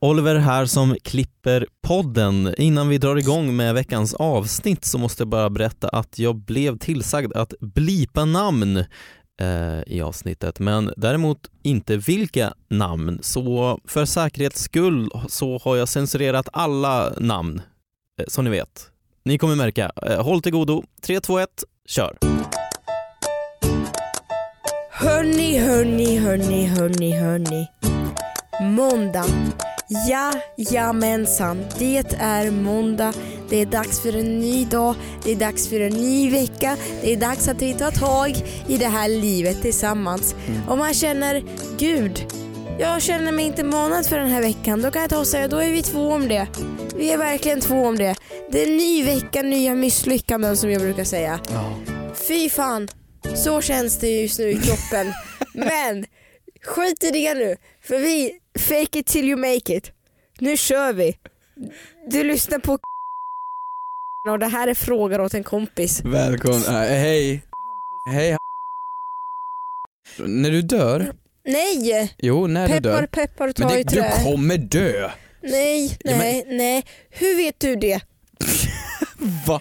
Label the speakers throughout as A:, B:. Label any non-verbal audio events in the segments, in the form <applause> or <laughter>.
A: Oliver här som klipper podden. Innan vi drar igång med veckans avsnitt så måste jag bara berätta att jag blev tillsagd att blipa namn eh, i avsnittet, men däremot inte vilka namn. Så för säkerhets skull så har jag censurerat alla namn, eh, som ni vet. Ni kommer märka. Eh, håll till godo. 3, 2, 1, kör!
B: Hörni, hörni, hörni, hörni, hörni. Måndag. Ja, jamensan. Det är måndag. Det är dags för en ny dag. Det är dags för en ny vecka. Det är dags att vi tar tag i det här livet tillsammans.
A: Mm.
B: Om man känner, gud, jag känner mig inte manad för den här veckan. Då kan jag ta och säga, då är vi två om det. Vi är verkligen två om det. Det är en ny vecka, nya misslyckanden som jag brukar säga. Fy fan, så känns det just nu i
C: <laughs>
B: kroppen. Men skit i det nu, för vi fake it till you make it. Nu kör vi. Du lyssnar på <laughs> och det här är frågor åt en kompis.
C: Välkommen, äh, hej. Hej. När du dör,
B: Nej!
C: jo när du
B: Peppar
C: dör.
B: peppar
C: Men
B: ta
C: det,
B: i
C: du
B: trä.
C: kommer dö.
B: Nej,
C: Ja, men-
B: nej, nej. Hur vet du det?
C: Va?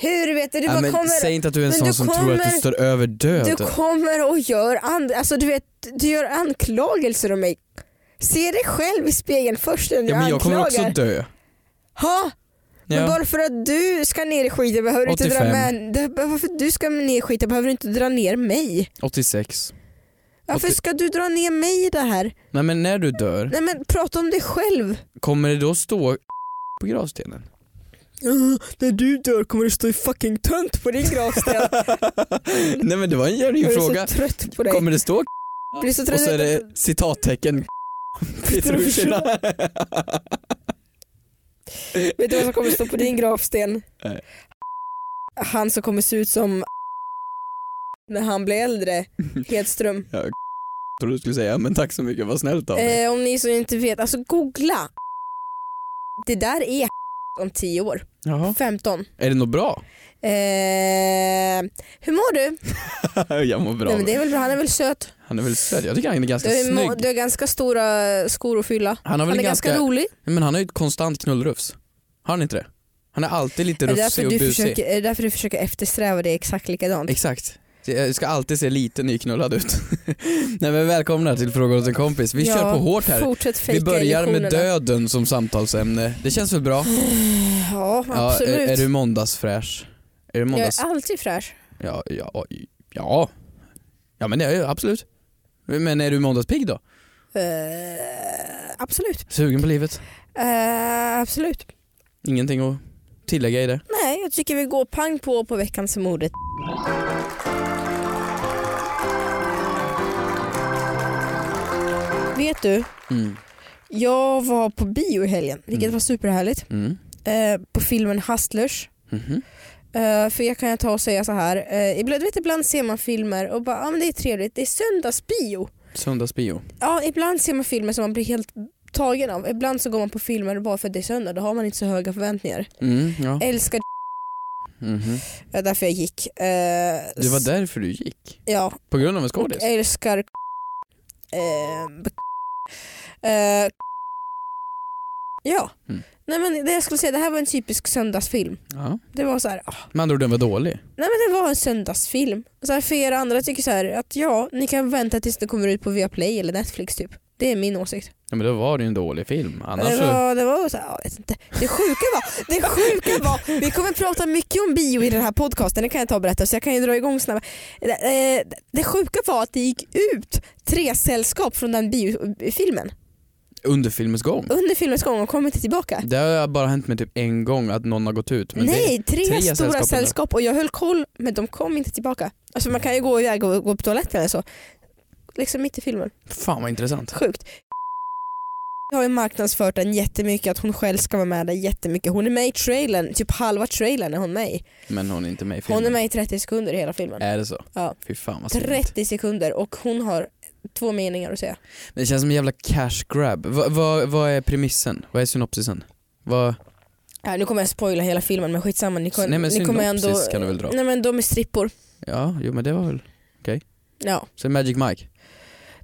B: Hur vet du? Du
C: Ja,
B: bara
C: men, säg
B: kommer,
C: inte att du är en
B: men
C: sån
B: du
C: som tror att du
B: kommer-
C: står över
B: du
C: döden.
B: kommer och gör, and, alltså, du vet, du gör anklagelser om mig. Se dig själv i spegeln först innan du
C: ja, men jag kommer
B: anklagar.
C: också dö.
B: Ha? Men
C: Ja.
B: bara för att du ska ner i skiten behöver du inte dra
C: 85.
B: med... det- Varför du ska ner i skiten behöver du inte dra ner mig.
C: 86.
B: Varför
C: 80.
B: ska du dra ner mig i det här?
C: Nej men när du dör,
B: Nej men prata om dig själv.
C: kommer det då stå på gravstenen?
B: när du dör kommer det stå i fucking tönt på din gravsten.
C: <laughs> Nej men det var en
B: <laughs>
C: jävlig
B: Jag är
C: fråga.
B: så trött på dig.
C: Kommer det stå
B: Jag <laughs> blir så trött
C: och så är
B: att-
C: det
B: <laughs>
C: citattecken <laughs> Petrushina.
B: Vet du vad som kommer stå på din gravsten?
C: Nej.
B: Han som kommer se ut som när han blir äldre, Hedström.
C: Tror du skulle säga, men tack så mycket, vad snällt av dig.
B: Eh, om ni så inte vet, alltså googla. Det där är om 10 år.
C: Jaha.
B: 15.
C: Är det något bra?
B: Eh, hur mår du?
C: <laughs> Jag mår bra.
B: Nej, men det är väl bra, han är väl söt.
C: Han är väl söt? Jag tycker han är ganska
B: Du är,
C: snygg.
B: må- du har ganska stora eh, skor att fylla.
C: Han har väl
B: Han är
C: en
B: ganska,
C: ganska,
B: rolig.
C: Nej, Men han har ju ett konstant knullrufs. Har han inte det? Han är alltid lite
B: Är det,
C: rufsig
B: därför
C: och
B: du
C: busig.
B: försöker, är det därför du försöker eftersträva det exakt likadant?
C: Exakt. Jag ska alltid se lite nyknullad ut. <laughs> Nej men välkomna till Frågor åt en kompis. Vi
B: Ja,
C: kör på hårt här.
B: Fortsätt fejka
C: Vi börjar med
B: illusionerna.
C: döden som samtalsämne. Det känns väl bra?
B: Ja,
C: Ja, är,
B: absolut.
C: är du måndagsfräsch? Är du måndags...
B: Jag är alltid fräsch.
C: Ja, ja, ja. Ja men det är jag ju, absolut. Men är du måndagspigg då?
B: Eh, absolut.
C: Sugen på livet?
B: Eh, absolut.
C: Ingenting att tillägga i det?
B: Nej, jag tycker vi går pang på på veckans mordet. Vet du,
C: Mm.
B: jag var på bio i helgen, vilket
C: Mm.
B: var superhärligt.
C: Mm.
B: Eh, på filmen Hustlers.
C: Mhm.
B: Eh, för jag kan jag ta och säga så här. Eh, ibland, du vet, ibland ser man filmer och bara, ah, men det är trevligt, det är söndagsbio.
C: Söndagsbio.
B: Ja, ibland ser man filmer som man blir helt tagen av. Ibland så går man på filmer bara för att det är söndag, då har man inte så höga förväntningar.
C: Mm, ja.
B: Älskar
C: Mhm.
B: Det var därför jag gick. Eh,
C: Det var
B: s-
C: därför du gick?
B: Ja,
C: På grund av en
B: och
C: skådis?
B: älskar eh, eh, Ja.
C: Mm.
B: Nej men det jag skulle säga, det här var en typisk söndagsfilm.
C: Ja.
B: Det var så här, ah,
C: Med andra ord, den var dålig.
B: nej men det var en söndagsfilm. Så här, för er andra tycker så här att ja, ni kan vänta tills det kommer ut på Viaplay eller Netflix typ. Det är min åsikt.
C: Ja, men då var det ju en dålig film. Annars
B: det
C: så...
B: var, det var så här, ja, jag vet inte. Det sjuka var, det sjuka var, vi kommer prata mycket om bio i den här podcasten, det kan jag ta och berätta så jag kan ju dra igång snabbare. Det, eh, det sjuka var att det gick ut tre sällskap från den biofilmen
C: Under filmens gång.
B: under filmens gång och kom inte tillbaka.
C: Det har bara hänt mig typ en gång att någon har gått ut. Men
B: Nej, tre,
C: tre
B: stora
C: sällskap
B: sällskap,
C: ändå.
B: och jag höll koll men de kom inte tillbaka. Alltså man kan ju gå iväg och gå på toaletten eller så. Liksom mitt i filmen.
C: Det... Fan vad intressant.
B: Sjukt. har ju marknadsfört den jättemycket, att hon själv ska vara med där jättemycket. Hon är med i trailern, typ halva trailern är hon med i.
C: Men hon är inte med i filmen.
B: Hon är med i 30 sekunder i hela filmen.
C: Är det så?
B: Ja.
C: Fy fan vad sorgligt.
B: 30 sekunder och hon har två meningar att säga.
C: Det känns som en jävla cash grab. Va, va, vad är premissen? Vad är synopsisen? Vad...
B: Äh, nu kommer jag spoila hela filmen men skitsamma, ni, kom,
C: Nej, men
B: ni kommer ändå...
C: synopsis kan du väl dra?
B: Nej men de är strippor.
C: Ja, jo men det var väl...
B: Ja.
C: Så Magic Mike.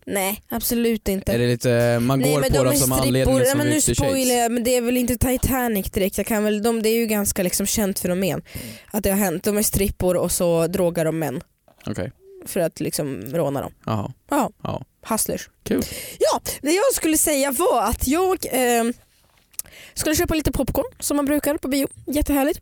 B: Nej, absolut inte.
C: Är det lite, man
B: Nej
C: går
B: men
C: på
B: de är
C: dem som anledningen
B: strippor, Nej,
C: som
B: men nu
C: Fifty
B: spoilar
C: Shades.
B: jag, men det är väl inte Titanic direkt. Jag kan väl, de, det är ju ganska liksom känt fenomen att det har hänt. De är strippor och så drogar de män
C: Okej,
B: för att liksom råna dem.
C: jaha.
B: Ja,
C: Ja.
B: hustlers.
C: Kul.
B: Ja, det jag skulle säga var att jag eh, skulle köpa lite popcorn som man brukar på bio. Jättehärligt.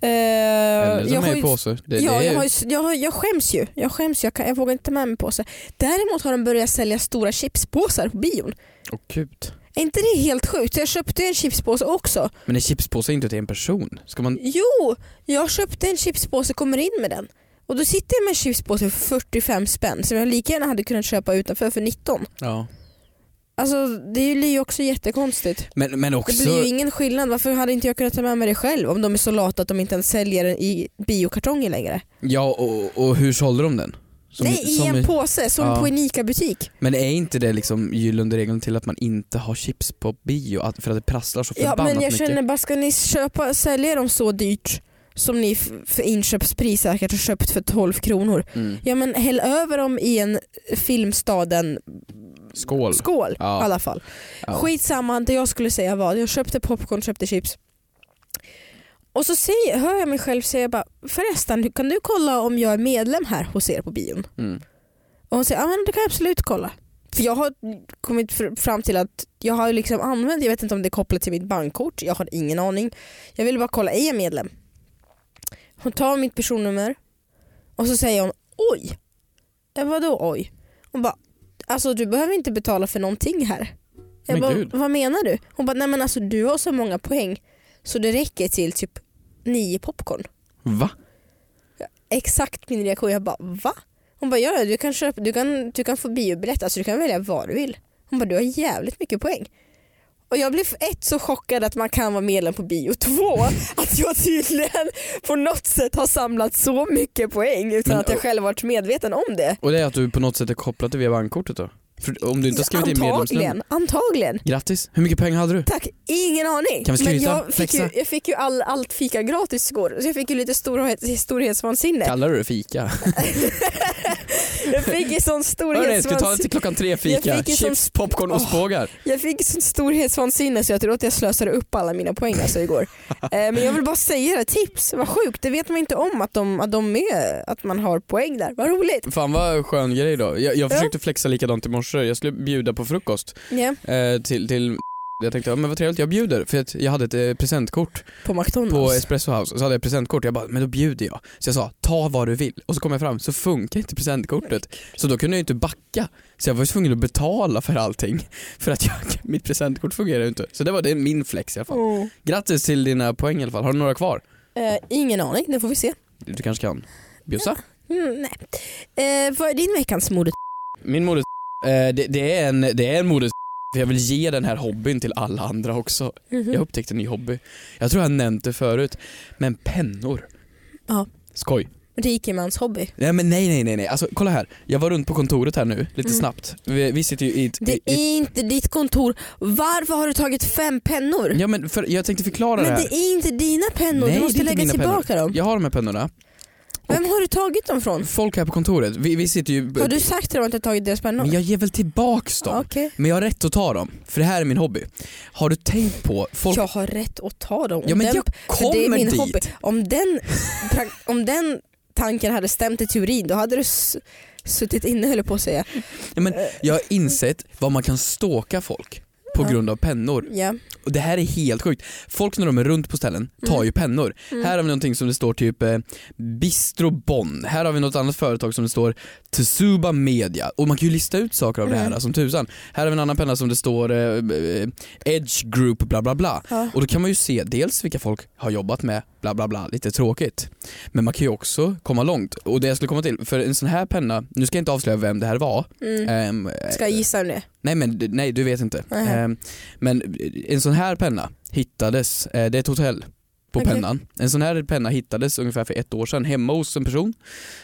B: Eh,
C: Eller som
B: jag har
C: är i
B: ju-
C: påse. Det,
B: ja,
C: det är,
B: jag, har, ju s- jag, har, jag skäms ju. Jag skäms ju. Jag, kan, jag vågar inte ta med mig påse. Däremot har de börjat sälja stora chipspåsar på bion.
C: Åh, gud.
B: Är inte det helt sjukt? Jag köpte en chipspåse också.
C: Men en chipspåse är inte till en person. Ska man...
B: Jo, jag köpte en chipspåse och kommer in med den. Och då sitter jag med en chipspåse för 45 spänn som jag lika gärna hade kunnat köpa utanför för 19.
C: Ja.
B: Alltså det blir ju också jättekonstigt.
C: Men, men också...
B: Det blir ju ingen skillnad. Varför hade inte jag kunnat ta med mig det själv om de är så lata att de inte ens säljer den i biokartonger längre?
C: Ja, och, och hur sålde de den? Som-
B: Nej, i
C: som
B: en påse som
C: Ja.
B: på en ICA-butik.
C: Men är inte det liksom gyllene regeln till att man inte har chips på bio att- för att det prasslar så
B: Ja
C: förbannat
B: men jag
C: mycket?
B: känner bara, ska ni köpa, sälja dem så dyrt som ni f- för inköpspris säkert har köpt för 12 kronor?
C: Mm.
B: Ja men häll över dem i en Filmstaden-skål
C: Skål.
B: i
C: Ja.
B: alla fall.
C: Ja.
B: Skitsamma, det jag skulle säga var jag köpte popcorn, köpte chips. Och så säger, hör jag mig själv säga bara förresten kan du kolla om jag är medlem här hos er på bion?
C: Mm.
B: Och hon säger ja men det kan jag absolut kolla. För jag har kommit fr- fram till att jag har liksom använt, jag vet inte om det är kopplat till mitt bankkort, jag har ingen aning. Jag ville bara kolla, är jag medlem? Hon tar mitt personnummer och så säger hon oj. Jag vadå oj? Hon bara alltså du behöver inte betala för någonting här. Jag
C: Men
B: bara,
C: gud.
B: vad menar du? Hon bara nej men alltså du har så många poäng så det räcker till typ nio popcorn
C: Va?
B: exakt min reaktion. Jag bara va? Hon bara ja ja, du kan, köpa, du kan, du kan få biobiljett, alltså du kan välja vad du vill. Hon bara du har jävligt mycket poäng. Och jag blev för ett så chockad att man kan vara medlem på bio, två <laughs> att jag tydligen på något sätt har samlat så mycket poäng utan
C: Men-
B: att jag själv varit medveten om det.
C: Och det är att du på något sätt är kopplad till via bankkortet då? För om du inte har skrivit in medlemsnummer?
B: Antagligen, antagligen.
C: Grattis, hur mycket pengar hade du?
B: Tack, ingen aning.
C: Kan vi
B: Men
C: skryta?
B: jag fick ju,
C: Flexa?
B: jag fick ju all, allt fika gratis igår så jag fick ju lite storhet, storhetsvansinne.
C: Kallar du det fika?
B: <laughs> Jag fick ju sån
C: Hörni, ska vi ta det
B: storhetsvansinne.
C: till klockan tre fika?
B: Jag fick ju
C: Chips,
B: som-
C: popcorn,
B: Åh.
C: ostbågar?
B: Jag fick sån storhetsvansinne så jag tror att jag slösade upp alla mina poäng alltså <laughs> igår. Eh, Men jag vill bara säga det, tips, vad sjukt, det vet man inte om att, de, att, de är, att man har poäng där, vad roligt.
C: Fan vad skön grej då. Jag, jag
B: Ja.
C: försökte flexa likadant i morse, jag skulle bjuda på frukost
B: Ja,
C: eh, till, till jag tänkte, ja, men vad trevligt, jag bjuder. För att jag hade ett eh, presentkort
B: på
C: på
B: McDonalds.
C: Espresso House och så hade jag presentkort jag bara, men då bjuder jag. Så jag sa, ta vad du vill. Och så kom jag fram, så funkar inte presentkortet. Så då kunde jag ju inte backa. Så jag var ju tvungen att betala för allting. För att jag, <laughs> mitt presentkort fungerar ju inte. Så det var det är min flex i alla fall.
B: Oh.
C: Grattis till dina poäng i alla fall. Har du några kvar?
B: Eh, ingen aning, det får vi se.
C: Du kanske kan bjussa?
B: Mm, nej. Eh, vad är din veckans mode?
C: Min moder eh, det, det är en, det är en moder för jag vill ge den här hobbyn till alla andra också.
B: Mm. Mhm.
C: Jag upptäckte en ny hobby. Jag tror jag har nämnt det förut. Men pennor.
B: Ja.
C: Skoj.
B: Rikemans hobby.
C: Nej men nej nej nej nej, alltså kolla här. Jag var runt på kontoret här nu, lite
B: Mm.
C: snabbt. Vi, vi sitter ju i ett...
B: Det
C: i, i,
B: är inte ditt kontor, varför har du tagit fem pennor?
C: ja men för, jag tänkte förklara det
B: Men
C: här.
B: det är inte dina pennor,
C: Nej,
B: du
C: det är
B: måste
C: inte
B: lägga
C: mina pennor.
B: tillbaka dem.
C: Jag har de här pennorna.
B: Vem har du tagit dem från?
C: Folk här på kontoret, vi, vi sitter ju...
B: Har du sagt till dem att du har tagit deras pennor?
C: Men jag ger väl tillbaks dem.
B: Okej.
C: Men jag har rätt att ta dem, för det här är min hobby. Har du tänkt på... Folk...
B: Jag har rätt att ta dem. Om
C: Ja, men
B: den,
C: jag
B: för det är
C: kommer
B: min
C: dit.
B: hobby. Om den, pra- om den tanken hade stämt i teorin då hade du s- suttit inne höll jag på att säga.
C: Ja, men jag har insett vad man kan ståka folk på
B: Ja.
C: grund av pennor.
B: Ja.
C: Och det här är helt sjukt. Folk när de är runt på ställen tar ju pennor. Här har vi någonting som det står typ eh, Bistro Bonn. Här har vi något annat företag som det står Tsuba Media. Och man kan ju lista ut saker av det här som tusan. Här har vi en annan penna som det står eh, eh, Edge Group bla bla bla.
B: Ja.
C: Och då kan man ju se dels vilka folk har jobbat med bla bla bla, lite tråkigt. Men man kan ju också komma långt. Och det jag skulle komma till, för en sån här penna, nu ska jag inte avslöja vem det här var.
B: Mm.
C: Ehm, eh,
B: Ska jag gissa nu?
C: Nej men d- nej, du vet inte.
B: Nej.
C: Ehm, men en sån här penna hittades, eh, det är ett hotell på
B: Okej.
C: pennan. En sån här penna hittades ungefär för ett år sedan hemma hos en person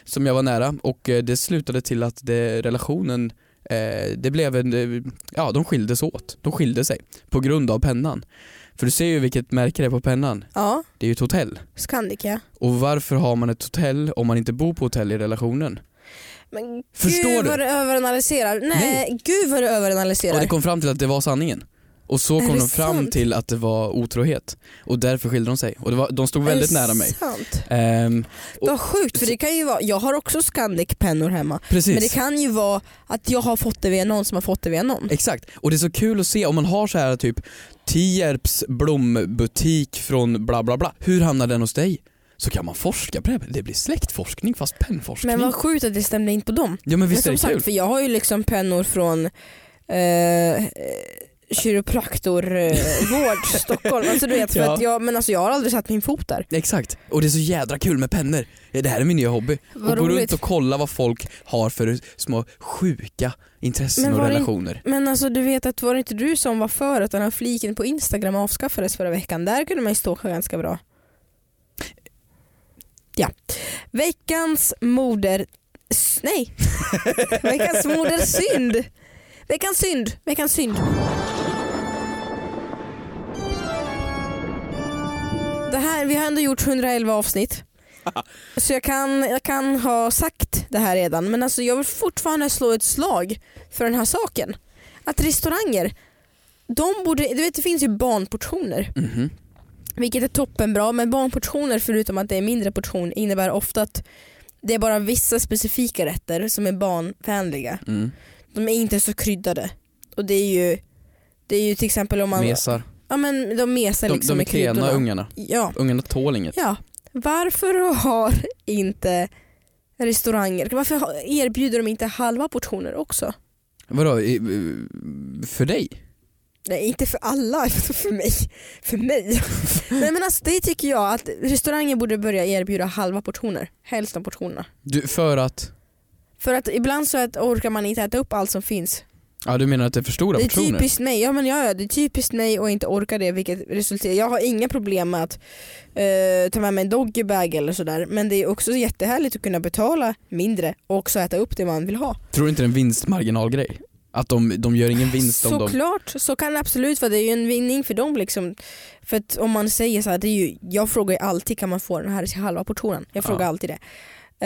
C: som jag var nära och eh, det slutade till att det, relationen, eh, det blev en, eh, ja de skildes åt. De skilde sig på grund av pennan. För du ser ju vilket märke det är på pennan.
B: Ja,
C: Det är ju ett hotell.
B: Scandica.
C: Och varför har man ett hotell om man inte bor på hotell i relationen?
B: Men
C: Förstår
B: gud
C: du?
B: vad du överanalyserar. Nej,
C: Nej.
B: gud vad du
C: Och
B: överanalyserar.
C: det kom fram till att det var sanningen. Och så
B: Är
C: kom
B: det
C: de fram
B: sant?
C: till att det var otrohet. Och därför skilde de sig. Och det var, de stod väldigt
B: Är det
C: nära mig.
B: Sant?
C: Ehm, Och-
B: Vad sjukt för det kan ju vara, jag har också Scandic-pennor hemma.
C: precis.
B: Men det kan ju vara att jag har fått det via någon som har fått det via någon.
C: Exakt. Och det är så kul att se om man har så här typ Tierps blombutik från bla bla bla. Hur hamnar den hos dig? Så kan man forska på det. här. Det blir släktforskning fast pennforskning.
B: Men vad sjukt att det stämde in på dem.
C: ja men visst
B: men
C: är det
B: som
C: kul?
B: sagt, för jag har ju liksom pennor från eh, kiropraktorvård Stockholm. Alltså, du vet, för
C: Ja.
B: att jag, men alltså, jag har aldrig satt min fot där.
C: Exakt. Och det är så jädra kul med pennor. Ja, Det här är min nya hobby.
B: Vad
C: och gå runt
B: roligt.
C: och kolla vad folk har för små sjuka intressen
B: Men
C: och
B: var det-
C: relationer.
B: Men alltså du vet att var det inte du som var för att den här fliken på Instagram avskaffades förra veckan? Där kunde man ju ståka ganska bra. Ja. Veckans moder... s- Nej. <laughs> Veckans modersynd. Veckans synd. Veckans synd. Det här, vi har ändå gjort 111 avsnitt. Så jag kan, jag kan ha sagt det här redan men alltså jag vill fortfarande slå ett slag för den här saken. Att restauranger, de borde, du vet det finns ju barnportioner.
C: Mhm.
B: Vilket är toppenbra men barnportioner förutom att det är mindre portion innebär ofta att det är bara vissa specifika rätter som är barnvänliga.
C: Mm.
B: De är inte så kryddade. Och det är ju, det är ju till exempel om man...
C: Mesar.
B: Ja men de mesar
C: De,
B: liksom
C: de är
B: med
C: klena
B: kryddorna.
C: ungarna.
B: Ja.
C: Ungarna tål inget.
B: Ja, varför har inte restauranger, varför har- erbjuder de inte halva portioner också?
C: Vadå, i- för dig?
B: Nej inte för alla, <laughs> alltså för mig. För mig. Nej men alltså det tycker jag att restauranger borde börja erbjuda halva portioner, hälften av portionerna.
C: Du, för att,
B: För att ibland så att orkar man inte äta upp allt som finns.
C: ja du menar att det är för stora
B: Det är
C: portioner?
B: typiskt mig, ja men ja, ja, det är typiskt mig att inte orka det vilket resulterar, jag har inga problem med att eh, ta med mig en doggybag eller sådär men det är också jättehärligt att kunna betala mindre och också äta upp det man vill ha.
C: Tror du inte det är en vinstmarginalgrej? Att de, de gör ingen vinst om de...
B: Såklart, så kan det absolut vara. Det är ju en vinning för dem. Liksom. För att om man säger så här, det är ju, jag frågar ju alltid kan man få den här halva portionen. Jag
C: Ja.
B: frågar alltid det.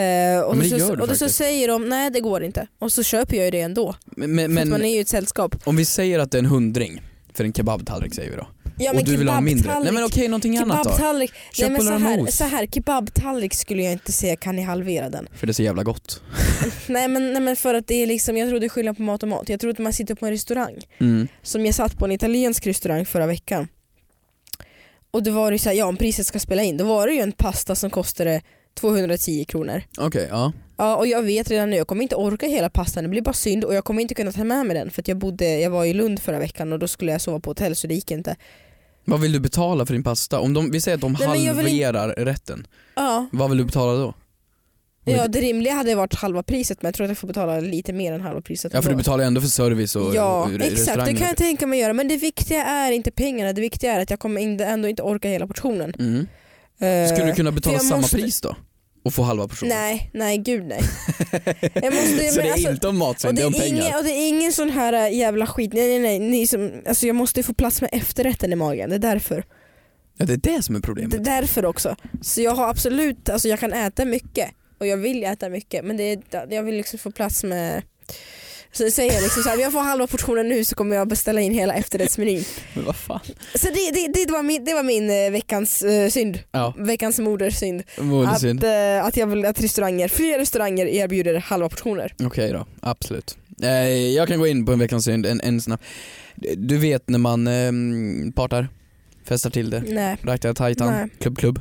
B: Eh, och
C: men det
B: så,
C: gör du
B: och då så
C: faktiskt.
B: säger de nej det går inte och så köper jag ju det ändå.
C: Men, men,
B: för att man
C: men
B: är ju ett sällskap.
C: om vi säger att det är en hundring för en kebabtallrik säger vi då.
B: Ja,
C: och du vill ha mindre. Nej men okej, någonting annat då.
B: Kebabtallrik. Nej, men så,
C: Köttbullar och
B: här,
C: mos.
B: så här, kebabtallrik skulle jag inte säga kan ni halvera den.
C: För det är så jävla gott.
B: Nej men, nej, men för att det är liksom, jag tror det är skillnad på mat och mat. Jag tror att man sitter på en restaurang
C: Mm.
B: som jag satt på en italiensk restaurang förra veckan. Och då var det ju så här, ja om priset ska spela in, då var det ju en pasta som kostade 210 kronor.
C: Okej, ja.
B: Ja, och jag vet redan nu, jag kommer inte orka hela pastan, det blir bara synd och jag kommer inte kunna ta med mig den för att jag, bodde, jag var i Lund förra veckan och då skulle jag sova på hotell så det gick inte.
C: Vad vill du betala för din pasta? Om de, vi säger att de
B: Nej, men jag vill inte-
C: halverar rätten,
B: Ja,
C: vad vill du betala då?
B: ja det rimliga hade varit halva priset men jag tror att jag får betala lite mer än halva priset.
C: Ja för du
B: ändå.
C: betalar ju ändå för service och
B: Ja
C: och re-
B: exakt, det
C: restaurang.
B: kan jag tänka mig göra men det viktiga är inte pengarna, det viktiga är att jag kommer in- ändå inte orka hela portionen.
C: mm.
B: Eh,
C: Skulle du kunna betala
B: jag
C: samma
B: måste-
C: pris då? Och få halva portionen?
B: Nej, nej gud
C: <laughs>
B: nej. Jag måste, men
C: Så det är
B: alltså,
C: inte om mat,
B: och
C: det
B: det,
C: är om
B: är
C: pengar.
B: ingen, och det är ingen sån här äh, jävla skit, nej nej nej, ni som, alltså jag måste ju få plats med efterrätten i magen, det är därför.
C: Ja, det är det som är
B: Det är
C: problemet.
B: därför också. Så jag har absolut, alltså jag kan äta mycket och jag vill äta mycket men det är, jag vill liksom få plats med så säger jag liksom såhär, om jag får halva portionen nu så kommer jag beställa in hela efterrättsmenyn.
C: Men vad fan.
B: Så det, det, det, var, min, det var min eh, veckans eh, synd,
C: Ja,
B: veckans modersynd.
C: vore
B: Att,
C: synd.
B: eh, att jag vill att restauranger, fler restauranger erbjuder halva portioner.
C: Okej då, absolut. Eh, jag kan gå in på en veckans synd, en, en snabb. Du vet när man eh, partar, festar till det,
B: Nej.
C: rajtar tajtan,
B: Mm. Nej.
C: klubb klubb,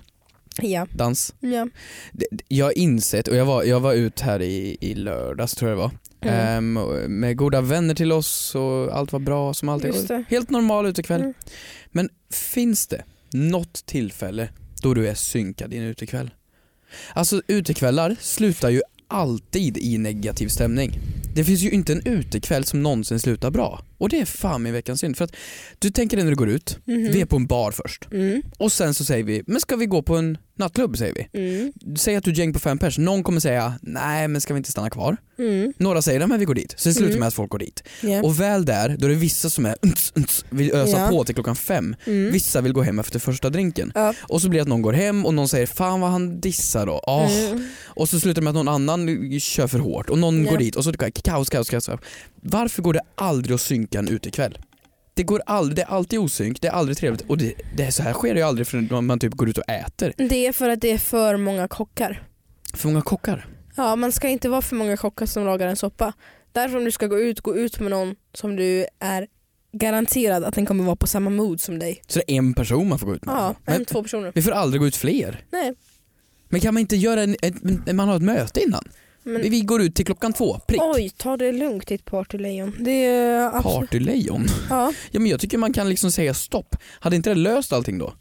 B: Ja.
C: dans.
B: ja. Mm.
C: D- d- Jag har insett, och jag var, jag var ut här i, i lördags tror jag det var,
B: Mm.
C: Ehm, och med goda vänner till oss och allt var bra som alltid.
B: Just det.
C: Helt normal utekväll.
B: Mm.
C: Men finns det något tillfälle då du är synkad i en utekväll? Alltså utekvällar slutar ju alltid i negativ stämning. Det finns ju inte en utekväll som någonsin slutar bra. Och det är fan min veckans synd. För att du tänker dig när du går ut,
B: Mhm.
C: vi är på en bar först.
B: Mm,
C: Och sen så säger vi, men ska vi gå på en nattklubb? säger vi.
B: mm,
C: Säg att du är ett gäng på fem pers, någon kommer säga, nej men ska vi inte stanna kvar? Några säger, nej men vi går dit. Så det slutar med att folk går dit.
B: mm, Ja.
C: Och väl där, då är det vissa som är unts, unts, vill ösa
B: Ja.
C: på till klockan fem. Vissa vill gå hem efter första drinken.
B: mm. Ja.
C: Och så blir det att någon går hem och någon säger fan vad han dissar då. Ah. Och så slutar det med att någon annan kör för hårt och någon
B: Mm. Ja.
C: går dit och så är det kaos, kaos, kaos. Varför går det aldrig att synka en utekväll? Det går aldrig, det är alltid osynk, det är aldrig trevligt och det, det är så här sker det ju aldrig förrän man- man typ går ut och äter.
B: Det är för att det är för många kockar.
C: För många kockar.
B: Ja, man ska inte vara för många kockar som lagar en soppa. Därför om du ska gå ut, gå ut med någon som du är garanterad att den kommer vara på samma mood som dig.
C: Så det är en person man får gå ut med.
B: Ja, en,
C: Men
B: två personer.
C: vi får aldrig gå ut fler.
B: Nej,
C: Men kan man inte göra en, en, en man har ett möte innan?
B: men
C: Vi, vi går ut till klockan två, prick.
B: oj, ta det lugnt ditt partylejon. Det är absolut...
C: Partylejon.
B: Ja.
C: Ja men jag tycker man kan liksom säga stopp. Hade inte det löst allting då?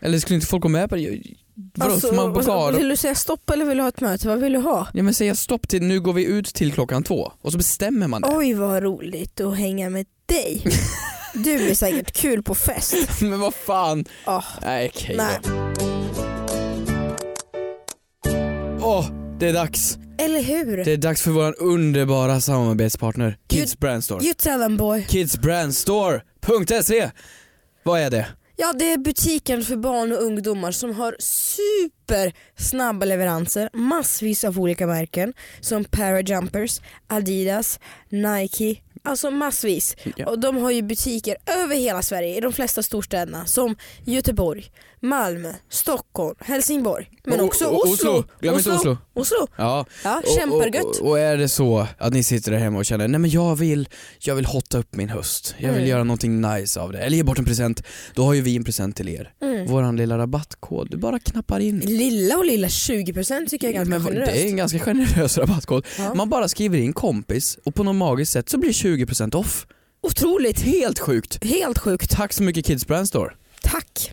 C: Eller skulle inte folk gå med på det? Vadå, får man
B: alltså, och så-
C: bara...
B: vill du säga stopp eller vill du ha ett möte? Vad vill du ha?
C: Ja men säga stopp till nu går vi ut till klockan två och så bestämmer man det.
B: Oj vad roligt att hänga med dig. Du blir säkert kul på fest.
C: <laughs> men vad fan.
B: Ah,
C: Nej okej
B: nej.
C: då. Åh, det är dags.
B: Eller hur?
C: Det är dags för vår underbara samarbetspartner Kids Brand Store.
B: You tell them boy.
C: Kidsbrandstore.se Vad är det?
B: Ja det är butiken för barn och ungdomar som har supersnabba leveranser, massvis av olika märken som Parajumpers, Adidas, Nike, alltså massvis.
C: Ja.
B: Och de har ju butiker över hela Sverige, i de flesta storstäderna som Göteborg, Malmö, Stockholm, Helsingborg, men
C: O-
B: också
C: o-
B: Oslo.
C: Oslo. Glöm inte Oslo.
B: Oslo.
C: Ja,
B: Ja,
C: Och-
B: kämpar gött.
C: Och, och, och är det så att ni sitter där hemma och känner, nej men jag vill, jag vill hotta upp min höst, jag vill
B: Mm.
C: göra någonting nice av det, eller ge bort en present, då har ju vi en present till er.
B: Mm.
C: Våran lilla rabattkod, du bara knappar in.
B: Lilla och lilla 20% tycker jag är ganska
C: Men vad-
B: generöst.
C: det är en ganska generös rabattkod.
B: Ja.
C: Man bara skriver in kompis och på något magiskt sätt så blir 20% off.
B: Otroligt,
C: Helt sjukt!
B: helt sjukt.
C: Tack så mycket Kids Brand Store.
B: Tack.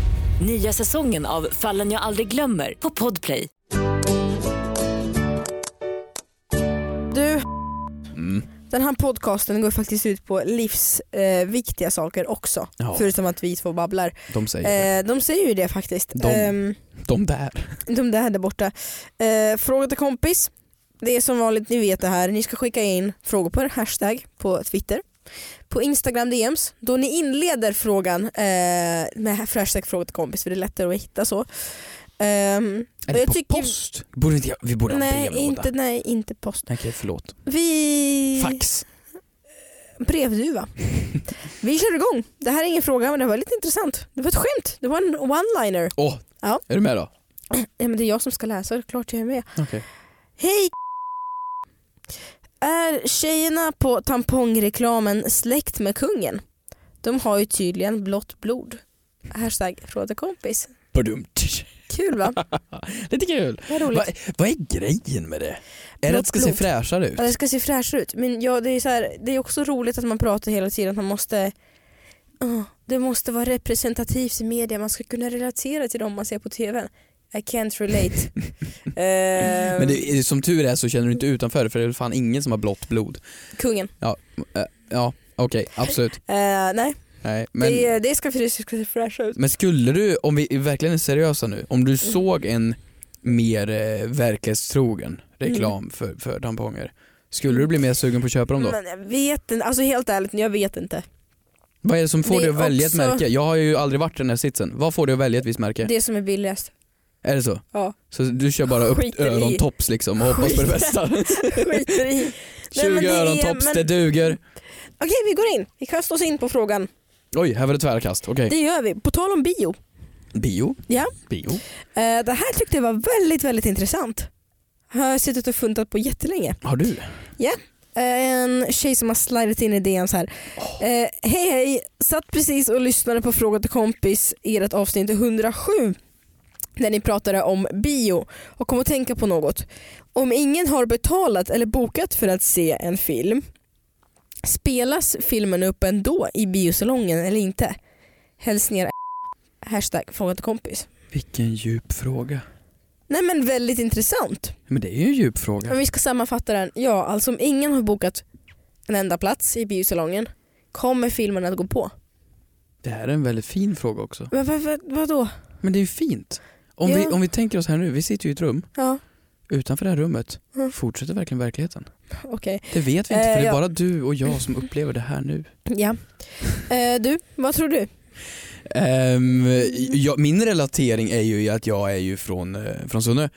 D: Nya säsongen av Fallen jag aldrig glömmer på Podplay.
B: Du,
C: Mm.
B: den här podcasten går faktiskt ut på livsviktiga eh, viktiga saker också.
C: Ja.
B: Förutom att vi två babblar.
C: De säger
B: Eh, de säger ju det faktiskt.
C: De.
B: Ehm,
C: De där.
B: de där där borta. Eh, fråga till kompis. Det är som vanligt, ni vet det här. Ni ska skicka in frågor på en hashtag på Twitter. På Instagram DMs, då ni inleder frågan eh, med hashtag fråga till kompis för det är lättare att hitta så. Ehm, och
C: Eller på post? Borde inte, jag- vi borde ha
B: Nej,
C: en brevlåda.
B: inte, nej, inte post.
C: Okej, förlåt.
B: Vi...
C: Fax.
B: Brevduva. Vi kör igång. Det här är ingen fråga men det var lite intressant. Det var ett skämt. Det var en one-liner.
C: Åh,
B: Ja.
C: är du med då?
B: Ja, men det är jag som ska läsa, det är klart jag är med.
C: Okej.
B: Hej Är tjejerna på tampongreklamen släkt med kungen? De har ju tydligen blått blod. Hashtag fråga kompis.
C: Badumt.
B: Kul va?
C: <laughs> Lite kul.
B: Vad roligt.
C: Va, vad är grejen med det? Är det att det ska se
B: Blod.
C: fräschare ut?
B: Ja, det ska se fräschare ut. Men ja, det, är så här, det är också roligt att man pratar hela tiden att man måste Åh, det måste vara representativt i media, man ska kunna relatera till dem man ser på TV. I can't
C: <laughs>
B: relate. Eh,
C: Men det, är- som tur är så känner du inte utanför för det är väl fan ingen som har blått blod. Eh,
B: Kungen.
C: Ja, okej, absolut.
B: Eh, nej,
C: Nej, men,
B: det, det ska, det ska se fräscha ut.
C: men skulle du, om vi verkligen är seriösa nu, om
B: Mm.
C: du såg en mer eh, verklighetstrogen
B: Mm.
C: reklam för, för tamponger, skulle du bli mer sugen på att köpa dem då?
B: Men jag vet inte, alltså helt ärligt, jag vet inte.
C: vad är det som får
B: det
C: dig
B: är
C: att välja
B: också-
C: ett märke? Jag har ju aldrig varit i den här sitsen. Vad får dig att välja ett visst märke?
B: Det som är billigast.
C: Är det så?
B: Ja.
C: Så du kör bara upp
B: Skiter i.
C: örontops liksom och hoppas på det
B: Skiter-
C: bästa?
B: Skiter
C: <laughs>
B: i. Nej,
C: 20
B: men det är-
C: örontops,
B: men-
C: det duger.
B: Okej, vi går in. Vi kastar oss in på frågan.
C: Oj, här var det tvärkast. Okej.
B: Det gör vi. På tal om bio.
C: Bio.
B: Ja.
C: Bio.
B: Eh, Det här tyckte jag var väldigt, väldigt intressant. har jag suttit och funtat på jättelänge.
C: Har du?
B: Eh, En tjej som har slidat in i DM så här. Eh, hej hej, satt precis och lyssnade på Fråga till kompis i ert avsnitt 107 när ni pratade om bio och kom att tänka på något. Om ingen har betalat eller bokat för att se en film, spelas filmen upp ändå i biosalongen eller inte? Hälsningar Hashtag fråga till kompis.
C: Vilken djup fråga.
B: Nej men väldigt intressant.
C: Men det är ju en djup fråga.
B: Om vi ska sammanfatta den. Ja, alltså om ingen har bokat en enda plats i biosalongen kommer filmen att gå på.
C: Det här är en väldigt fin fråga också.
B: Men vad, vad, vadå?
C: Men det är ju fint. Om,
B: Ja.
C: vi, om vi tänker oss här nu, vi sitter ju i ett rum.
B: Ja,
C: Utanför det här rummet
B: Mm.
C: fortsätter verkligen verkligheten.
B: okej.
C: Det vet vi inte
B: Eh,
C: för det är
B: ja.
C: bara du och jag som upplever det här nu. <laughs>
B: Ja. Eh, du, vad tror du?
C: Ehm, jag, min relatering är ju i att jag är ju från, eh, från Sunne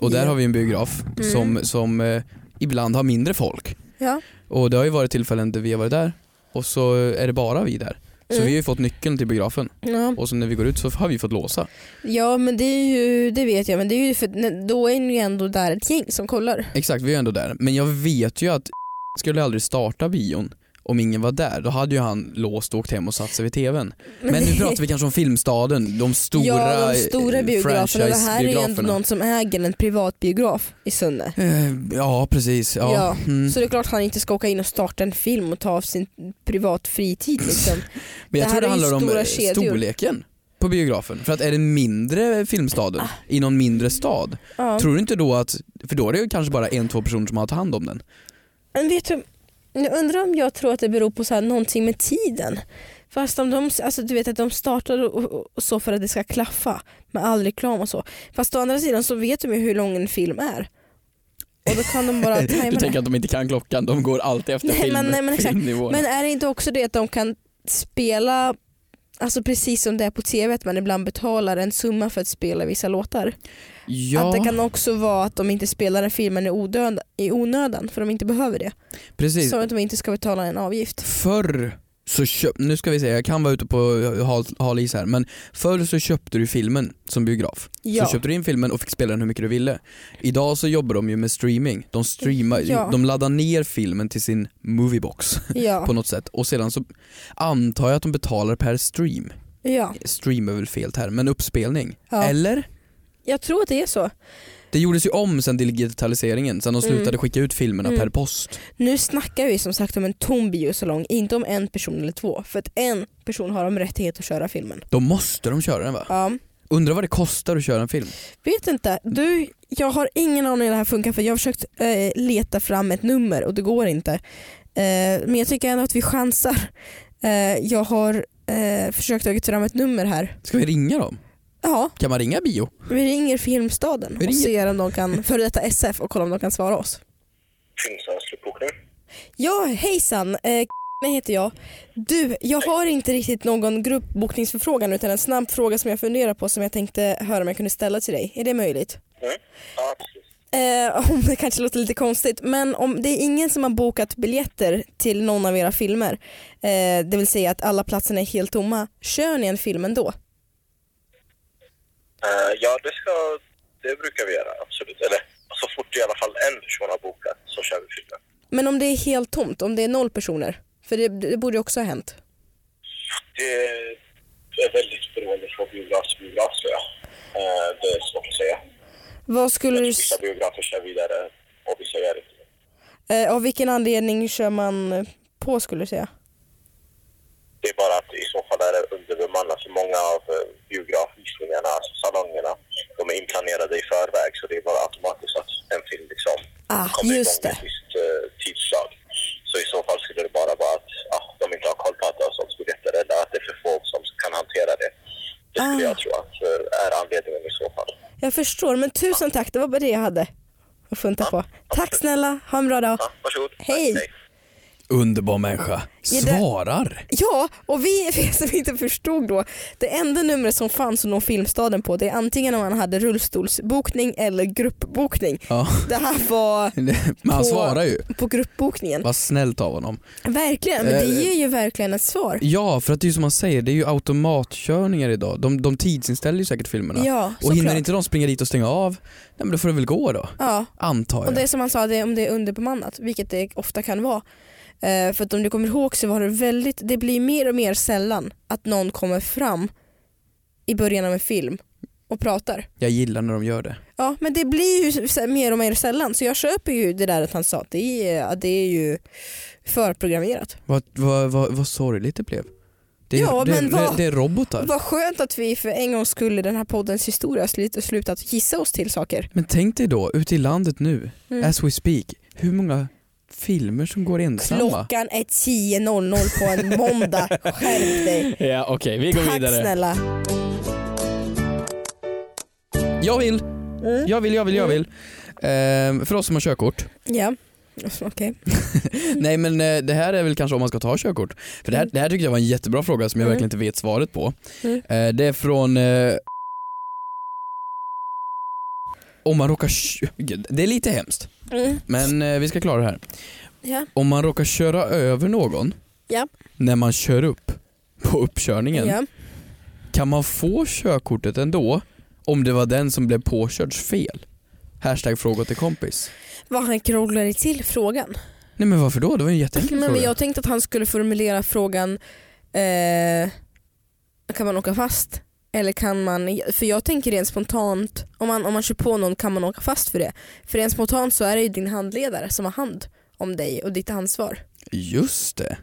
C: och där
B: Ja.
C: har vi en biograf
B: Mm.
C: som, som eh, ibland har mindre folk.
B: Ja.
C: Och det har ju varit tillfällen där vi har varit där och så är det bara vi där. Så
B: Mm.
C: vi har ju fått nyckeln till biografen
B: Ja,
C: och så när vi går ut så har vi fått låsa.
B: ja men det är ju, det vet jag, men det är ju för nej, då är ni ju ändå där ett gäng som kollar.
C: Exakt, vi är ändå där. Men jag vet ju att <laughs> skulle aldrig starta bion om ingen var där. Då hade ju han låst och åkt hem och satt sig vid tvn. Men nu pratar vi kanske om Filmstaden, de
B: <laughs>
C: stora,
B: Ja, de stora
C: eh,
B: biograferna. Det här är ju ändå
C: franchise-biograferna.
B: någon som äger en privatbiograf i Sunne.
C: Eh, Ja, precis. Ja.
B: Ja,
C: Mm.
B: Så det är klart han inte ska åka in och starta en film och ta av sin privat fritid
C: <clears throat>
B: liksom.
C: Men jag
B: Det
C: tror
B: här
C: det
B: är ju
C: handlar om
B: stora
C: eh,
B: kedjor.
C: storleken på biografen. För att är det mindre filmstaden i någon mindre stad,
B: Ja.
C: tror du inte då att, för då är det ju kanske bara en, två personer som har tagit hand om den.
B: Men vet du, jag undrar om jag tror att det beror på så här någonting med tiden. Fast om de, alltså du vet att de startar och, och, och så för att det ska klaffa med all reklam och så. Fast å andra sidan så vet de ju hur lång en film är. Och då kan
C: <laughs>
B: de bara tajma
C: Du
B: det.
C: tänker att de inte kan klockan, de går alltid efter
B: Nej,
C: film,
B: men- nej, men exakt.
C: filmnivån.
B: Men är det inte också det att de kan spela, alltså precis som det är på tv, att man ibland betalar en summa för att spela vissa låtar?
C: ja,
B: Att det kan också vara att de inte spelar den filmen i, odöd, i onödan för de inte behöver det.
C: precis.
B: Så att de inte ska betala en avgift.
C: Förr så köp, nu ska vi se, jag kan vara ute på hal, hal is här, men förr så köpte du filmen som biograf.
B: Ja.
C: Så köpte du in filmen och fick spela den hur mycket du ville. Idag så jobbar de ju med streaming. De streamar,
B: Ja.
C: de laddar ner filmen till sin moviebox <laughs>
B: Ja.
C: på något sätt och sedan så antar jag att de betalar per stream.
B: ja.
C: Stream är väl fel här, men uppspelning.
B: Ja.
C: Eller?
B: Jag tror att det är så.
C: Det gjordes ju om sen till digitaliseringen, sen de
B: Mm.
C: slutade skicka ut filmerna
B: Mm.
C: per post.
B: Nu snackar vi som sagt om en tom biosalong, inte om en person eller två. För att en person har de rättighet att köra filmen.
C: Då måste de köra den va?
B: Ja.
C: Undrar vad det kostar att köra en film?
B: Vet inte. Du, jag har ingen aning hur det här funkar för jag har försökt eh, leta fram ett nummer och det går inte. Eh, men jag tycker ändå att vi chansar. Eh, jag har eh, försökt ta fram ett nummer här.
C: Ska vi ringa dem?
B: Ja,
C: Kan man ringa bio?
B: vi ringer Filmstaden
C: Vi
B: och
C: ringer-
B: ser om de kan, <laughs> före detta SF, och kolla om de kan svara oss. Ja, hejsan. Eh, <laughs> mig heter jag. Du, jag har inte riktigt någon gruppbokningsförfrågan utan en snabb fråga som jag funderar på som jag tänkte höra om jag kunde ställa till dig. Är det möjligt? Eh, <laughs> om det kanske låter lite konstigt, men om det är ingen som har bokat biljetter till någon av era filmer, eh, det vill säga att alla platserna är helt tomma, kör ni en film ändå?
E: Eh, ja, det, ska, det brukar vi göra, absolut. Eller så fort i alla fall en person har bokat så kör vi filmen.
B: Men om det är helt tomt, om det är noll personer? För det, det borde ju också ha hänt.
E: Det är väldigt beroende från biograf till biograf, tror jag. Eh, det är svårt att säga.
B: Vad skulle du... s-
E: Vissa biografer kör vidare och vissa gör inte det.
B: Eh, av vilken anledning kör man eh, på skulle du säga?
E: Det är bara att i så fall är det underbemannat. Så många av eh, biografvisningarna, alltså salongerna, de är inplanerade i förväg så det är bara automatiskt att en film liksom
B: Ah,
E: kommer
B: just det.
E: igång vid ett visst eh, tidslag. Så i så fall skulle det bara vara att ja, de inte har koll på att det har sålts biljetter eller att det är för få som kan hantera det. Det skulle
B: Ah.
E: jag tro att eh, är anledningen i så fall.
B: Jag förstår, men tusen tack. Det var bara det jag hade att funta på. Tack snälla, ha en bra dag.
E: Ja, varsågod.
B: Hej.
C: Underbar människa. Svarar.
B: Ja, och vi, <laughs> vi som inte förstod då, det enda numret som fanns att nå Filmstaden på det är antingen om han hade rullstolsbokning eller gruppbokning.
C: Ja.
B: Det här var
C: Men han
B: på,
C: svarar ju.
B: på gruppbokningen.
C: Vad snällt av honom.
B: Verkligen, men det
C: Eh,
B: ger ju verkligen ett svar.
C: Ja, för att det är ju som man säger, det är ju automatkörningar idag. De, de tidsinställer ju säkert filmerna.
B: Ja,
C: och hinner
B: såklart.
C: inte de springa dit och stänga av, nej men då får det väl gå då.
B: Ja.
C: Antar jag.
B: Och det är som han sa, det är om det är underbemannat, vilket det ofta kan vara. Eh, för att om du kommer ihåg så var det väldigt, det blir mer och mer sällan att någon kommer fram i början av en film och pratar.
C: Jag gillar när de gör det.
B: Ja men det blir ju s- mer och mer sällan så jag köper ju det där att han sa att det är, att det är ju förprogrammerat.
C: Vad, vad, vad, vad sorgligt det blev. Det är,
B: Ja,
C: det,
B: men vad-
C: det, det är robotar.
B: Vad skönt att vi för en gång skulle i den här poddens historia har slut- slutat gissa oss till saker.
C: Men tänk dig då, ute i landet nu,
B: Mm.
C: as we speak, hur många filmer som går ensamma.
B: Klockan är 10.00 på en
C: <laughs>
B: måndag, skärp dig.
C: Ja okej, vi går
B: Tack
C: vidare.
B: snälla.
C: Jag vill, jag vill, jag vill, jag vill. Ehm, för oss som har körkort.
B: Ja, okej.
C: Nej men eh, det här är väl kanske om man ska ta körkort. För det här, det här tycker jag var en jättebra fråga som jag
B: Mm.
C: verkligen inte vet svaret på.
B: Mm.
C: Eh, det är från eh, om man råkar kö- Gud, Det är lite hemskt
B: Mm.
C: men eh, vi ska klara det här.
B: Ja.
C: Om man råkar köra över någon
B: Ja.
C: när man kör upp på uppkörningen
B: Ja.
C: kan man få körkortet ändå om det var den som blev påkörds fel? Hashtag fråga till kompis.
B: Vad han krånglade till frågan.
C: Nej men varför då? Det var ju en jätteenkel
B: Mm, Men, men
C: fråga.
B: jag tänkte att han skulle formulera frågan eh, kan man åka fast? Eller kan man, för jag tänker rent spontant, om man, om man kör på någon kan man åka fast för det? För rent spontant så är det ju din handledare som har hand om dig och ditt ansvar.
C: Just det.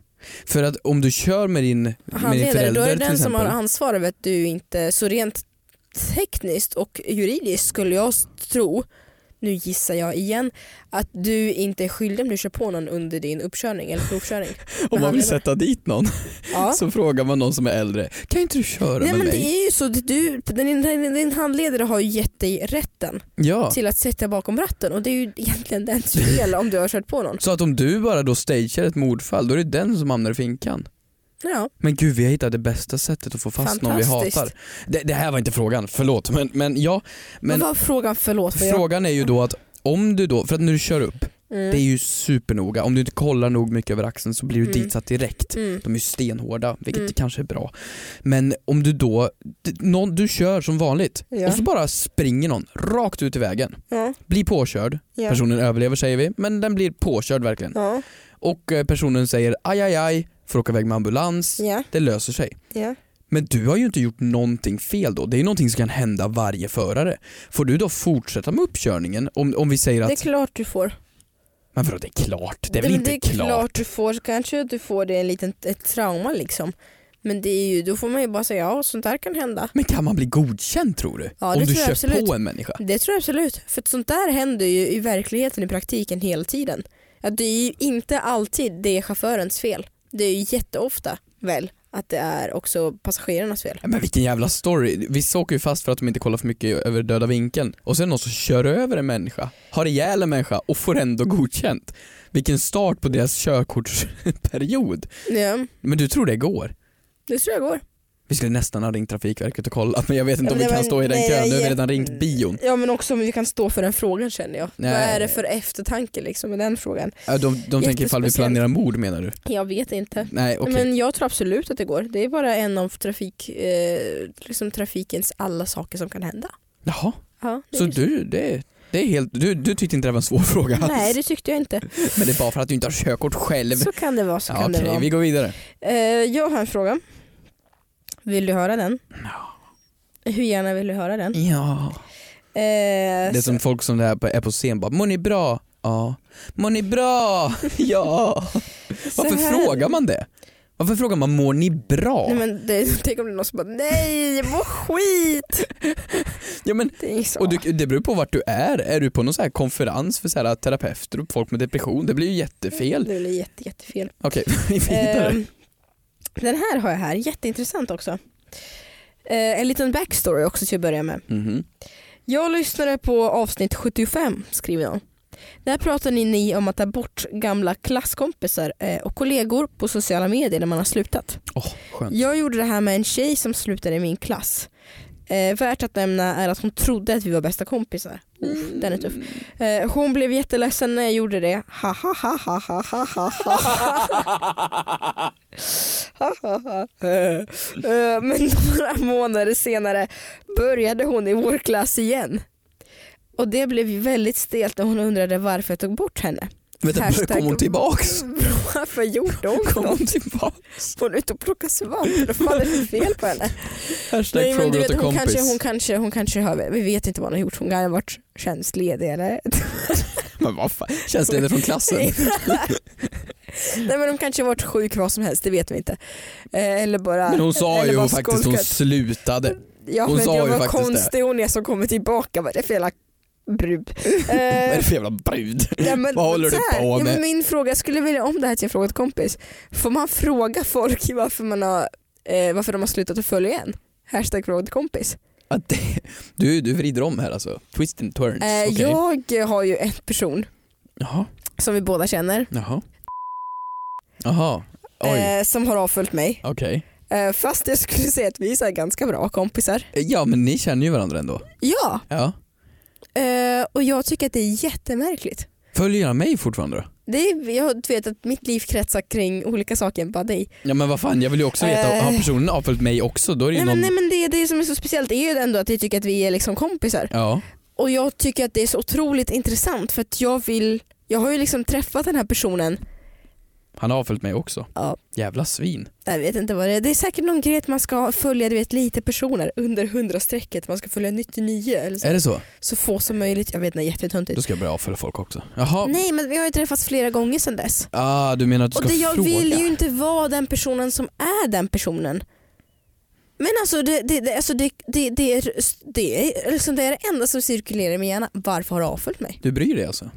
C: För att om du kör med din, med din
B: Handledare,
C: förälder
B: då är det
C: till
B: den som har
C: exempel.
B: ansvar över att du inte, så rent tekniskt och juridiskt skulle jag s- tro, nu gissar jag igen, att du inte är skyldig om du kör på någon under din uppkörning eller provkörning.
C: <laughs> Om man vill
B: Handledare.
C: sätta dit någon
B: Ja.
C: så frågar man någon som är äldre, kan inte du köra
B: Nej
C: med
B: men
C: mig?
B: det är ju så, att du, din, din, din handledare har ju gett dig rätten
C: Ja.
B: till att sätta bakom ratten och det är ju egentligen dens fel om du har kört på någon.
C: Så att om du bara då stagear ett mordfall, då är det den som hamnar i finkan.
B: Ja.
C: Men gud, vi har hittat det bästa sättet att få fast någon vi
B: Fantastiskt.
C: hatar. Det, det här var inte frågan, förlåt. Men, men ja,
B: Men
C: men
B: vad var frågan, förlåt för jag...
C: frågan är ju då att om du då, för att när du kör upp,
B: Mm.
C: det är ju supernoga. Om du inte kollar nog mycket över axeln så blir du
B: Mm.
C: ditsatt direkt.
B: Mm.
C: De är ju stenhårda, vilket
B: Mm.
C: kanske är bra. Men om du då, d- någon, du kör som vanligt
B: Ja.
C: och så bara springer någon rakt ut i vägen.
B: Ja.
C: Blir påkörd,
B: Ja.
C: personen överlever säger vi, men den blir påkörd verkligen.
B: Ja.
C: Och eh, personen säger aj aj aj, får åka iväg med ambulans,
B: Ja.
C: det löser sig.
B: Ja.
C: Men du har ju inte gjort någonting fel då, det är ju någonting som kan hända varje förare. Får du då fortsätta med uppkörningen om, om vi säger
B: Det är
C: att,
B: klart du får.
C: men vadå det är klart, det är väl
B: men
C: inte
B: det är
C: klart.
B: du får, så kanske du får det en liten ett trauma liksom. Men det är ju, då får man ju bara säga ja sånt där kan hända.
C: Men kan man bli godkänd tror du?
B: Ja,
C: om
B: det
C: du
B: tror jag
C: kör
B: absolut.
C: på en människa?
B: Det tror jag absolut, för att sånt där händer ju i verkligheten i praktiken hela tiden. Att det är ju inte alltid det är chaufförens fel. Det är ju jätteofta väl att det är också passagerarnas fel.
C: Ja, Men vilken jävla story. Vissa åker ju fast för att de inte kollar för mycket över döda vinkeln och sen är det någon som kör över en människa, har ihjäl en människa och får ändå godkänt. Vilken start på deras körkortsperiod.
B: Ja,
C: Men du tror det går?
B: det tror jag går.
C: Vi skulle nästan ha ringt Trafikverket och kollat men jag vet inte
B: Ja, men
C: om vi
B: det
C: kan
B: var-
C: stå i den
B: nej, jag
C: kön, nu har vi
B: ger-
C: redan ringt bion.
B: Ja men också om vi kan stå för den frågan känner jag.
C: Nej.
B: Vad är det för eftertanke liksom med den frågan?
C: Ja, De, de tänker ifall vi
B: Jättespeciellt.
C: planerar mord menar du?
B: Jag vet inte.
C: Nej okej.
B: Men jag tror absolut att det går. Det är bara en av trafik, eh, liksom trafikens alla saker som kan hända.
C: Jaha,
B: Ja, det
C: så
B: är-
C: du, det, det är helt, du, du tyckte inte det var en svår fråga
B: Nej
C: alls?
B: det tyckte jag inte.
C: Men det är bara för att du inte har körkort själv.
B: Så kan det vara. Så
C: Ja,
B: kan
C: okej,
B: det vara.
C: vi går vidare.
B: Eh, jag har en fråga. Vill du höra den? Hur gärna vill du höra den?
C: Ja.
B: Eh,
C: Det är som folk som är på, är på scen bara, mår ni bra? Ja. Mår ni bra? <laughs> Ja.
B: så
C: Varför
B: här-
C: frågar man det? Varför frågar man mår ni bra?
B: Nej, men det, tänk om det är <laughs> någon som bara nej, jag mår skit.
C: ja, men,
B: Det är så.
C: och du, det beror på vart du är. Är du på någon så här konferens för så här terapeuter och folk med depression? Det blir ju jättefel.
B: Det blir jätte, jättefel.
C: Okej, <laughs> vi vidare.
B: Eh, den här har jag här, jätteintressant också. Eh, en liten backstory också till att börja med.
C: Mhm.
B: Jag lyssnade på avsnitt 75 skriver jag. Där pratar ni, ni om att ta bort gamla klasskompisar eh, och kollegor på sociala medier när man har slutat. Jag gjorde det här med en tjej som slutade i min klass. Eh, värt att nämna är att hon trodde att vi var bästa kompisar. Uff, Den är tuff. Eh, hon blev jätteledsen när jag gjorde det. Ha ha ha ha ha ha ha
C: <laughs>
B: ha. Ha, ha, ha. Eh, eh, Men några månader senare började hon i vår klass igen. Och det blev ju väldigt stelt när hon undrade varför jag tog bort
C: <laughs>
B: henne.
C: Vänta,
B: Hashtag-
C: kom hon tillbaks?
B: Varför gjorde hon
C: Kom hon
B: något?
C: tillbaks?
B: Hon är ute och plockar svamp, vad fan är det för fel på henne?
C: Hashtag frågar åt en
B: hon,
C: kompis.
B: kanske, hon, kanske, hon kanske har, vi vet inte vad hon har gjort, hon kan ha varit tjänstledig eller?
C: Men vad fan, tjänstledig från klassen.
B: <laughs> Nej men hon kanske har varit sjuk, vad som helst, det vet vi inte. Eh, Eller bara
C: Men hon sa
B: eller
C: ju
B: bara
C: faktiskt hon
B: skolkat.
C: slutade.
B: Ja
C: hon
B: men
C: sa
B: jag
C: ju
B: var
C: faktiskt det.
B: konstig hon är som kommer tillbaka, vad är det för jävla brud?
C: <laughs> Vad är
B: Eh,
C: det för jävla brud?
B: Ja, men,
C: Vad håller
B: så
C: du
B: här,
C: på
B: ja, men
C: med?
B: Min fråga, jag skulle vilja om det här till en fråga till kompis. Får man fråga folk varför, man har, eh, varför de har slutat att följa en? Hashtag fråga till kompis.
C: Att det, <laughs> du, du vrider om här alltså. Twist and turns.
B: Eh,
C: Mm, Okej.
B: Jag har ju en person
C: Jaha.
B: som vi båda känner
C: Jaha. Jaha. Oj.
B: eh, som har avföljt mig.
C: Okej.
B: Eh, fast jag skulle säga att vi är så här ganska bra kompisar.
C: Ja men ni känner ju varandra ändå.
B: Ja,
C: Ja.
B: eh, och jag tycker att det är jättemärkligt.
C: Följer han mig fortfarande då?
B: Det är, jag du vet att mitt liv kretsar kring olika saker än bara dig.
C: Ja men vad fan jag vill ju också veta,
B: Eh.
C: har personen avföljt mig också? Då är det
B: Nej,
C: ju
B: men,
C: någon...
B: nej, men det, det som är så speciellt är ju ändå att vi tycker att vi är liksom kompisar.
C: Ja.
B: Och jag tycker att det är så otroligt intressant för att jag vill, jag har ju liksom träffat den här personen,
C: Han har avföljt mig också.
B: Ja.
C: Jävla svin.
B: jag vet inte vad det är, det är säkert någon grej att man ska följa du vet, lite personer under 100-strecket, man ska följa 99 eller så,
C: Är det så?
B: så få som möjligt, jag vet inte, jättetöntigt.
C: Då ska jag börja avfölja folk också. Jaha.
B: Nej men vi har ju träffats flera gånger sedan dess.
C: Ah, du menar att du
B: Och
C: ska
B: det, jag
C: fråga?
B: vill ju inte vara den personen som är den personen. Men alltså det, det, det, alltså det, det, det, är, det, är, liksom det är det enda som cirkulerar i min hjärna. Varför har du avföljt mig?
C: Du bryr dig alltså?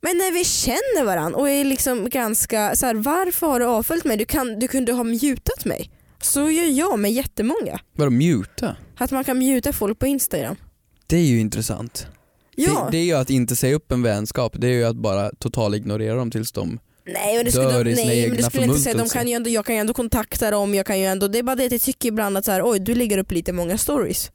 B: Men när vi känner varandra och är liksom ganska så här, varför har du avföljt mig? Du, kan, du kunde ha mutat mig. Så gör jag med jättemånga.
C: Vadå muta?
B: Att man kan muta folk på Instagram.
C: Det är ju intressant.
B: Ja.
C: Det, det är ju att inte säga upp en vänskap, det är ju att bara total ignorera dem tills de...
B: nej men det
C: dör
B: skulle,
C: i
B: de,
C: sina
B: nej, men det
C: egna typ.
B: skulle jag inte säga. De
C: förmultelser.
B: kan ju ändå, jag kan ju ändå kontakta dem. Jag kan ju ändå, det är bara det att jag tycker ibland att så här, oj du lägger upp lite många stories.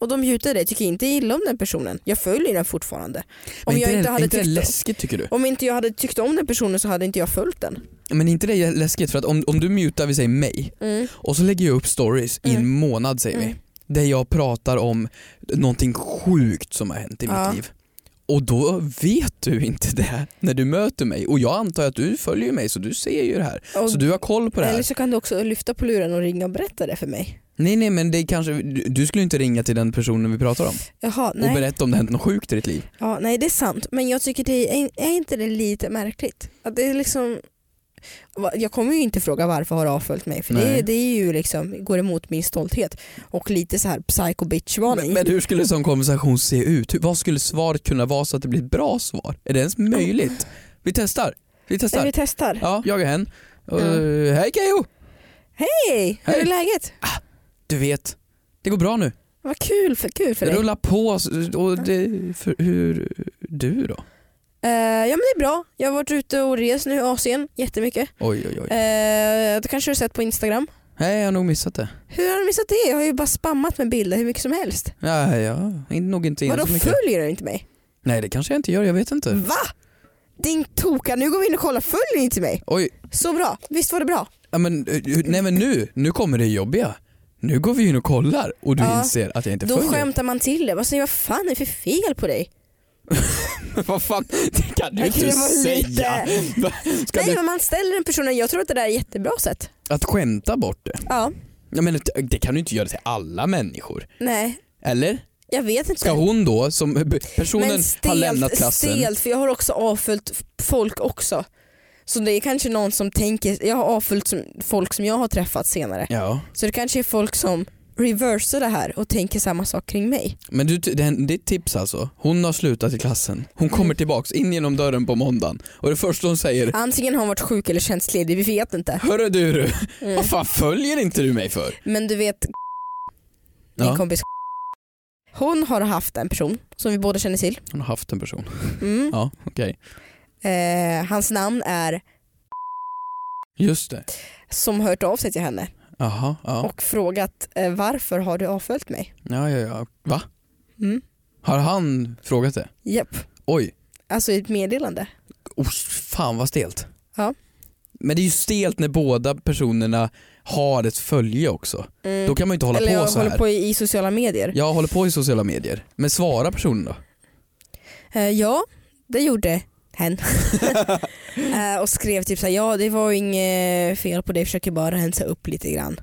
B: Och de mutar det. Jag tycker inte illa om den personen. Jag följer den fortfarande. Om
C: Men
B: jag
C: det,
B: inte hade
C: inte det
B: tyckt
C: läskigt tycker du?
B: om inte jag hade tyckt om den personen så hade inte jag följt den.
C: Men inte det är läskigt för att om, om du mutar, vi säger mig,
B: Mm.
C: och så lägger jag upp stories i en månad säger
B: Mm.
C: vi, där jag pratar om någonting sjukt som har hänt i
B: Ja.
C: mitt liv. Och då vet du inte det när du möter mig och jag antar att du följer ju mig så du ser ju det här.
B: Och-
C: så du har koll på det här.
B: Eller så kan du också lyfta på luren och ringa och berätta det för mig.
C: Nej nej men det är kanske, du, du skulle ju inte ringa till den personen vi pratar om
B: Jaha,
C: och
B: nej.
C: berätta om det hänt något sjukt i ditt liv.
B: Ja, nej det är sant. Men jag tycker det är, är inte det lite märkligt? Att det är liksom, Va- jag kommer ju inte fråga varför har du avföljt mig för det,
C: Nej.
B: det är ju liksom, går emot min stolthet och lite så här psycho bitch varning.
C: Men, men hur skulle en sån konversation se ut? Hur, vad skulle svaret kunna vara så att det blir ett bra svar? Är det ens möjligt? Vi testar. Vi
B: Nej,
C: testar.
B: Vi testar.
C: Ja, jag är hen. Och,
B: Ja.
C: eh, Hej Keyyo!
B: Hej, hur är
C: Hej.
B: läget?
C: Du vet, det går bra nu.
B: Vad kul för, kul för
C: Det
B: dig.
C: rullar på. s- Och det, för, hur, du då?
B: Eh, ja men det är bra. Jag har varit ute och rest nu i Asien jättemycket.
C: Oj oj oj.
B: Uh, det kanske du har sett på Instagram.
C: Nej jag har nog missat det.
B: Hur har du missat det? Jag har ju bara spammat med bilder hur mycket som helst.
C: Nej, jag har nog inte in
B: Vadå Mm.
C: så mycket.
B: följer du inte mig?
C: Nej det kanske jag inte gör, jag vet inte.
B: Va? Din toka, nu går vi in och kollar, följer ni inte mig?
C: Oj,
B: Så bra, visst var det bra?
C: ja, men, eh, nej men nu, nu kommer det jobbiga. Nu går vi in och kollar och du
B: Ja.
C: inser att jag inte
B: Då
C: följer.
B: skämtar man till det, man säger vad fan är det för fel på dig?
C: <laughs> Vad fan, det kan du
B: Jag kan
C: inte
B: vara lite-
C: säga. Va? <laughs> Ska
B: Nej
C: du,
B: men man ställer den personen, jag tror att det där är jättebra sätt.
C: att skämta bort det?
B: Ja,
C: Ja, men det- det kan du inte göra till alla människor.
B: nej,
C: Eller?
B: jag vet inte.
C: Ska hon då, som b- personen
B: men
C: har lämnat klassen.
B: stelt, för jag har också avföljt f- folk också. Så det är kanske någon som tänker, jag har avföljt som, folk som jag har träffat senare.
C: Ja,
B: Så det kanske är folk som reversar det här och tänker samma sak kring mig.
C: men du, det, det är ett tips alltså. Hon har slutat i klassen. Hon
B: Mm.
C: kommer tillbaks in genom dörren på måndagen och det första hon säger
B: Antingen har hon varit sjuk eller tjänstledig, vi vet inte. Mm.
C: Hörru du,
B: <laughs>
C: du vad fan följer inte du mig för?
B: Men du vet min
C: Ja.
B: kompis <laughs> Hon har haft en person som vi båda känner till.
C: Hon har haft en person.
B: Mm.
C: Ja, okej.
B: Eh, hans namn är
C: Just det.
B: som hört av sig till henne
C: Jaha, ja.
B: och frågat eh, varför har du avföljt mig?
C: Ja, ja, ja. Va?
B: Mm.
C: Har han frågat det?
B: Japp,
C: Oj.
B: alltså i ett meddelande.
C: Oh, fan vad stelt.
B: Ja.
C: Men det är ju stelt när båda personerna har ett följe också.
B: Mm.
C: Då kan man ju inte hålla
B: Eller
C: på
B: jag
C: så
B: håller
C: här.
B: på i, i sociala medier.
C: Jag håller på i sociala medier. Men svara personen då.
B: Eh, ja, det gjorde
C: <laughs>
B: hen. <laughs> eh, och skrev typ såhär, ja det var ju inget fel på dig, försöker bara rensa upp lite grann.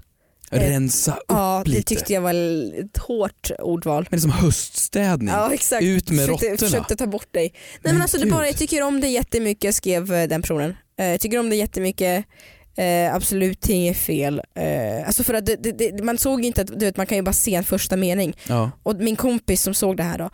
B: Eh,
C: Rensa upp
B: Ja, det
C: lite.
B: tyckte jag var l- ett hårt ordval.
C: Men det är som liksom höststädning.
B: Ja exakt.
C: Ut med
B: försökte,
C: råttorna.
B: försökte ta bort dig. Nej men,
C: Men
B: alltså det
C: gud.
B: bara, jag tycker om dig jättemycket skrev eh, den personen. Eh, Jag tycker om dig jättemycket, eh, absolut inget fel. Eh, alltså för att det, det, det, man såg inte att, du vet man kan ju bara se en första mening.
C: Ja.
B: Och min kompis som såg det här då,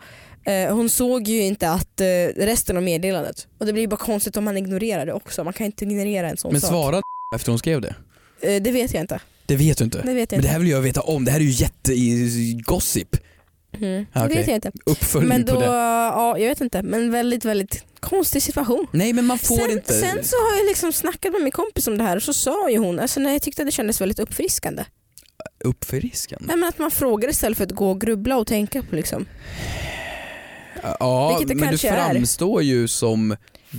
B: eh, hon såg ju inte att eh, resten av meddelandet. Och det blir ju bara konstigt om man ignorerar det också, man kan inte ignorera en sån
C: Men
B: sak.
C: svara efter hon skrev det.
B: Eh, det vet jag inte.
C: Det vet du inte.
B: Det vet jag
C: Men det
B: inte.
C: här vill jag veta om. Det här är ju jättegossip.
B: Mm. Det
C: Ja, Ah, okej.
B: vet jag inte.
C: Uppföljning
B: Men då,
C: på det.
B: ja jag vet inte, men väldigt väldigt konstig situation.
C: Nej men man får
B: sen,
C: inte.
B: sen så har jag liksom snackat med min kompis om det här och så sa ju hon, alltså när jag tyckte att det kändes väldigt uppfriskande.
C: Mm. Uppförriskande.
B: Nej, men att man frågar istället för att gå och grubbla och tänka på liksom.
C: Ja
B: Vilket det
C: men du
B: kanske är.
C: framstår ju som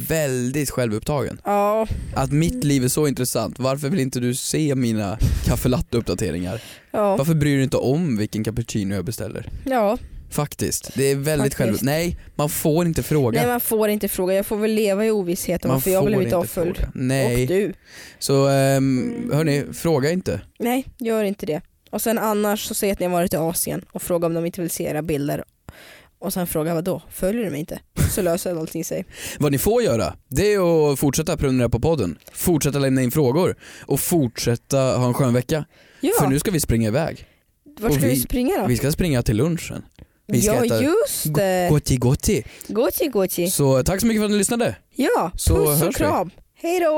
C: väldigt självupptagen.
B: Ja,
C: Att
B: Mm.
C: mitt liv är så intressant, varför vill inte du se mina kaffelattuppdateringar?
B: ja,
C: Varför bryr du dig inte om vilken cappuccino jag beställer?
B: ja.
C: Faktiskt, det är väldigt
B: Faktiskt.
C: själv... Nej, man får inte fråga.
B: Nej man får inte fråga, jag får väl leva i ovisshet om
C: man
B: varför jag blev
C: inte
B: inte avföljd.
C: fråga.
B: Och
C: Nej,
B: du. Mm.
C: så um, hörni, fråga inte.
B: Nej, gör inte det. Och sen annars så säg att ni har varit i Asien och fråga om de inte vill se era bilder. Och sen fråga vadå, följer du mig inte? Så löser allting
C: <laughs>
B: sig.
C: Vad ni får göra, det är att fortsätta prenumerera på podden, fortsätta lämna in frågor och fortsätta ha en skön vecka. För
B: Ja,
C: nu ska vi springa iväg.
B: vart ska
C: och
B: vi,
C: vi-
B: springa då?
C: Vi ska springa till lunchen. vi ska
B: ja
C: äta-
B: just det,
C: Gotti gotti.
B: gochi gochi.
C: Så tack så mycket för att ni lyssnade.
B: Ja,
C: Så
B: puss och
C: hörs vi.
B: kram. Hej då!